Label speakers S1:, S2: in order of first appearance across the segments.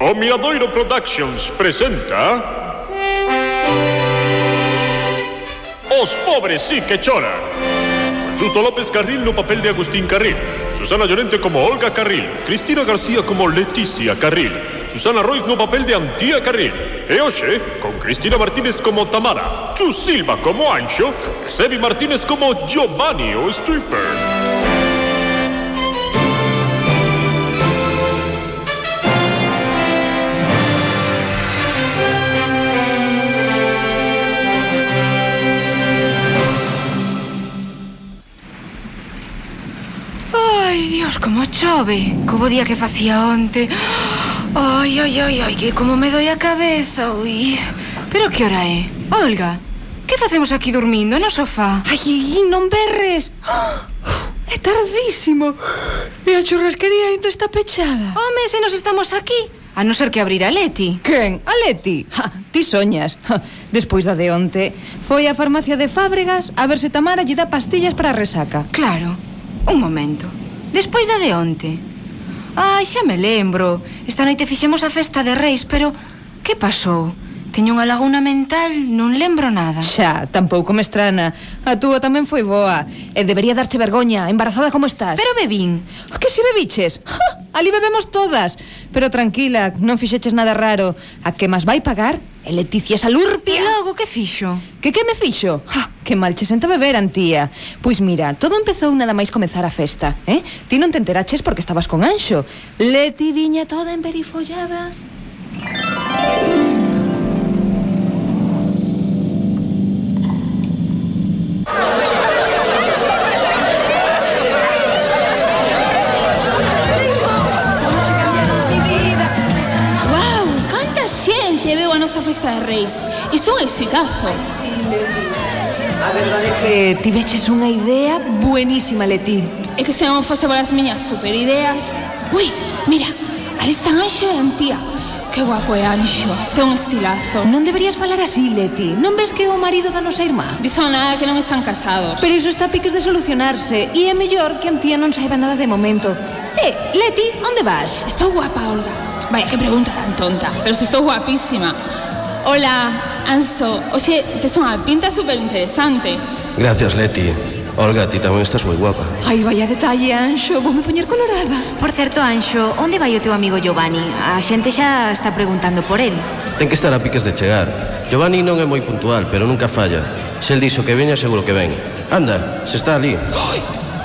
S1: O Miradoiro Productions presenta. Os pobres sí que choran. Suso López Carril no papel de Agustín Carril. Susana Llorente como Olga Carril. Cristina García como Leticia Carril. Susana Royce no papel de Antía Carril. Eoche con Cristina Martínez como Tamara. Chu Silva como Ancho. Sebi Martínez como Giovanni o Stripper.
S2: Ai, Dios, como chove Como día que facía onte Ai, ai, ai, ai, que como me doi a cabeza ui. Pero que hora é? Olga, que facemos aquí dormindo no sofá?
S3: Ai, non berres! É tardísimo. E a churrasquería ainda está pechada.
S2: Home, se nos estamos aquí A non ser que abrirá Leti
S3: Quen? A Leti? Ja, ti soñas. Ja, despois da de onte, foi á farmacia de Fábregas a ver se Tamara lle dá pastillas para a resaca.
S2: Claro, un momento Despois da de onte Ai, xa me lembro Esta noite fixemos a festa de reis, pero Que pasou? Teño unha laguna mental, non lembro nada
S3: Xa, tampouco me estrana. A túa tamén foi boa. E debería darche vergoña, embarazada como estás.
S2: Pero bebín
S3: O Que si bebiches? ¡Ja! Ali bebemos todas. Pero tranquila, non fixeches nada raro. A que máis vai pagar é
S2: E
S3: Leticia Salurpia.
S2: logo que fixo?
S3: Que que me fixo? Ja, que mal che senta beber, antía. Pois mira, todo empezou nada máis comezar a festa, eh? Ti non te enteraches porque estabas con Anxo. Leti viña toda emberifollada.
S4: Uau, canta xente veu a nosa festa de reis E son exitazos
S3: A verdade é que tiveches unha idea buenísima, Leti.
S4: E que se non fose para as miñas super ideas Ui, mira, ali están Anxo e Antía Que guapo é Anxo, ten un estilazo
S3: Non deberías falar así, Leti. Non ves que é o marido da nosa irmá?
S4: Dixo nada que non están casados
S3: Pero iso está a piques de solucionarse e é mellor que Antía non saiba nada de momento. Eh, Leti, onde vas?
S4: Estou guapa, Olga Vaya, que pregunta tan tonta Pero se estou guapísima Hola, Anxo, oxe, tes unha pinta super interesante
S5: Gracias, Leti. Olga, ti tamén estás moi guapa.
S3: Ai, vaya detalle, Anxo, voume poñer colorada.
S2: Por certo, Anxo, onde vai o teu amigo Giovanni? A xente xa está preguntando por el
S5: Ten que estar a piques de chegar. Giovanni non é moi puntual, pero nunca falla. Se el dixo que veña, seguro que ven. Anda, se está ali.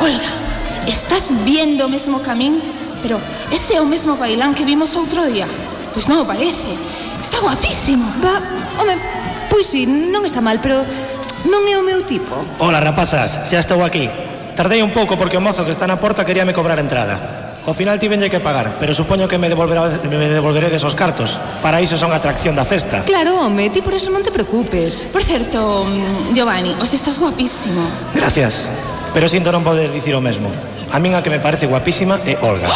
S4: Olga, estás viendo o mesmo camín? Pero ese é o mesmo bailán que vimos outro día Pois non o parece Está guapísimo
S3: Va, home, pois si, non está mal, pero non é o meu tipo.
S6: Ola, rapazas, xa estou aquí. Tardei un pouco porque o mozo que está na porta queríame cobrar a entrada. Ao final tivenlle que pagar, pero supoño que me, devolverá, me devolveredes os cartos. Para iso son atracción da festa.
S3: Claro, home, ti por eso non te preocupes.
S4: Por certo, mm, Giovanni, os estás guapísimo
S6: Gracias. Pero sinto non poder dicir o mesmo. A min a que me parece guapísima é Olga.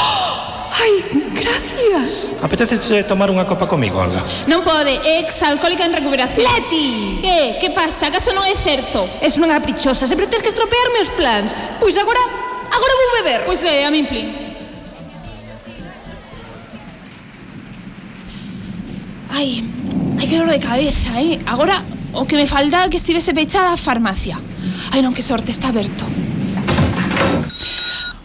S3: Ai, gracias.
S6: Apetece tomar unha copa comigo, Olga?
S4: Non pode, é exalcohólica en recuperación
S3: Leti!
S4: Que? Que pasa? Acaso non é certo?
S3: Es unha caprichosa, sempre tes que estropearme os plans. Pois agora, agora vou beber.
S4: Pois é, a min plin Ai, ai que dolor de cabeza, eh Agora, o que me faltaba que estivese pechada a farmacia Ai non, que sorte, está aberto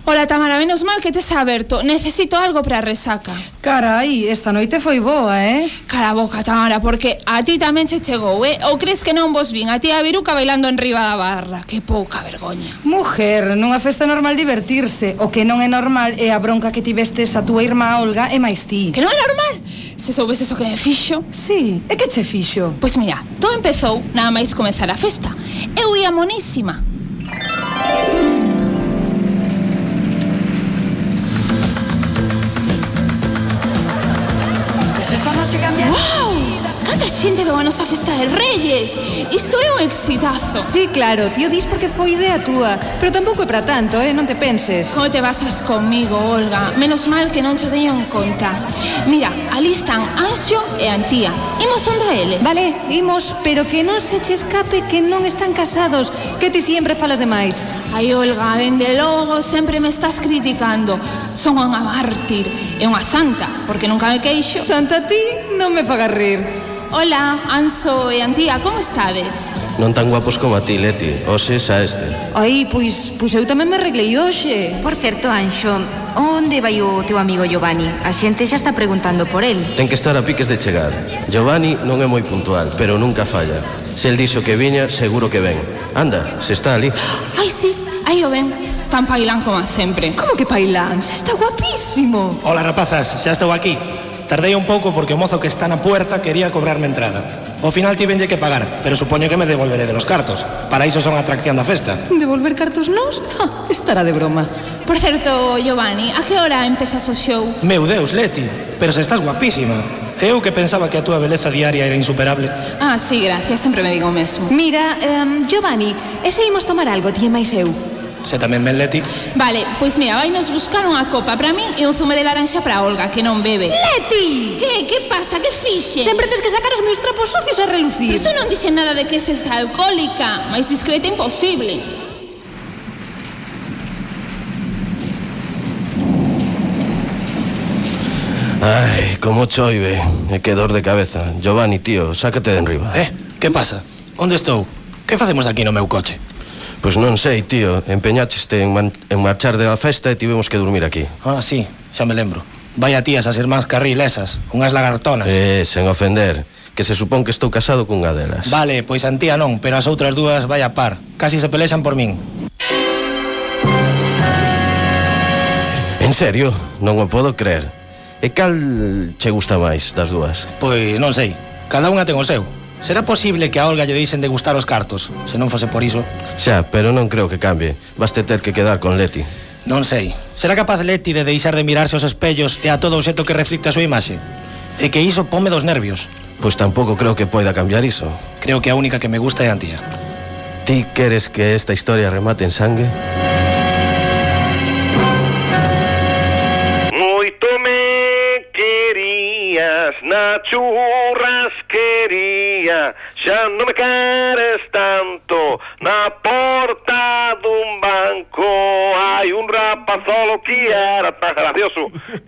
S4: Ola Tamara, menos mal que te está aberto Necesito algo para a resaca
S7: Carai, esta noite foi boa, eh?
S4: Cara a boca, Tamara, porque a ti tamén che chegou, eh? Ou crees que non vos vin a ti a Viruca bailando en riba da barra? Que pouca vergoña.
S7: Mujer, nunha festa é normal divertirse O que non é normal é a bronca que tivestes a túa irmá Olga e máis ti
S4: Que non é normal? Se soubeses o que me fixo...
S7: Sí, e que che fixo?
S4: Pois Pues mira, todo empezou nada máis comezar a festa. Eu ia monísima. Wow, canta xente vai a nosa festa de Reyes. Isto é un exitazo.
S3: Sí, claro, tío dis porque foi idea túa Pero tampouco é para tanto, eh, non te penses
S4: Como te basas comigo, Olga? Menos mal que non cho teño en conta. Mira, ali están Anxo e Antía. Imos onda eles.
S3: Vale, imos, pero que non se che escape que non están casados Que ti sempre falas demais
S4: Ai, Olga, dende logo sempre me estás criticando. Son unha mártir e unha santa, porque nunca me queixo.
S3: Santa ti, non me fagas rir
S4: Hola, Anso e Antía, como estades?
S5: Non tan guapos como a ti, Leti. Hoxe xa este.
S3: Ai, pois, pois eu tamén me arreglei hoxe
S2: Por certo, Anxo, onde vai o teu amigo Giovanni? A xente xa está preguntando por el.
S5: Ten que estar a piques de chegar. Giovanni non é moi puntual, pero nunca falla. Se el dixo que viña, seguro que ven. Anda, se está ali.
S4: Ai, sí, aí o ven. Tan pailán como sempre.
S3: Como que pailán? Xa está guapísimo
S6: Hola rapazas, xa estou aquí. Tardei un pouco porque o mozo que está na puerta quería cobrarme entrada. Ao final tivenlle que pagar, pero supoño que me devolveré de los cartos. Para iso son atracción da festa.
S3: Devolver cartos nós? Ja, estará de broma
S4: Por certo, Giovanni, a que hora empezas o show?
S6: Meu Deus, Leti, pero se estás guapísima. Eu que pensaba que a túa beleza diaria era insuperable.
S4: Ah, sí, gracias, sempre me digo o mesmo.
S3: Mira, um, Giovanni, e se imos tomar algo, ti e máis eu
S6: Se tamén ven, Leti.
S4: Vale, pois mira, vai nos buscar unha copa para min e un zume de laranxa para Olga, que non bebe.
S3: Leti!
S4: Que, que pasa? Que fixe?
S3: Sempre tes que sacar os meus trapos sucios a relucir
S4: Iso non dixe nada de que ses alcohólica, máis discreta imposible.
S5: Ai, como choive. E que dor de cabeza. Giovanni, tío, sácate de enriba.
S6: Eh, que pasa? Onde estou? Que facemos aquí no meu coche?
S5: Pois non sei, tío. Empeñacheste en, man... en marchar da festa e tivemos que dormir aquí.
S6: Ah, sí, xa me lembro. Vai a tías as irmás Carril esas, unhas lagartonas.
S5: Eh, sen ofender. Que se supón que estou casado cunha delas.
S6: Vale, pois a tía non, pero as outras dúas vai a par. Casi se pelexan por min.
S5: En serio, non o podo creer. E cal che gusta máis das dúas?
S6: Pois non sei, cada unha ten o seu. Será posible que a Olga lle deixen de gustar os cartos, se non fose por iso?
S5: Xa, pero non creo que cambie. Baste ter que quedar con Leti.
S6: Non sei. Será capaz Leti de deixar de mirarse aos espellos e a todo obxeto que reflicta a súa imaxe? E que iso pome dos nervios.
S5: Pois tampouco creo que poida cambiar iso.
S6: Creo que a única que me gusta é a tía.
S5: Ti queres que esta historia remate en sangue?
S8: Moito me querías na churrasquería Xa non me queres tanto Na porta dun banco Hai un rapazolo que era tan gracioso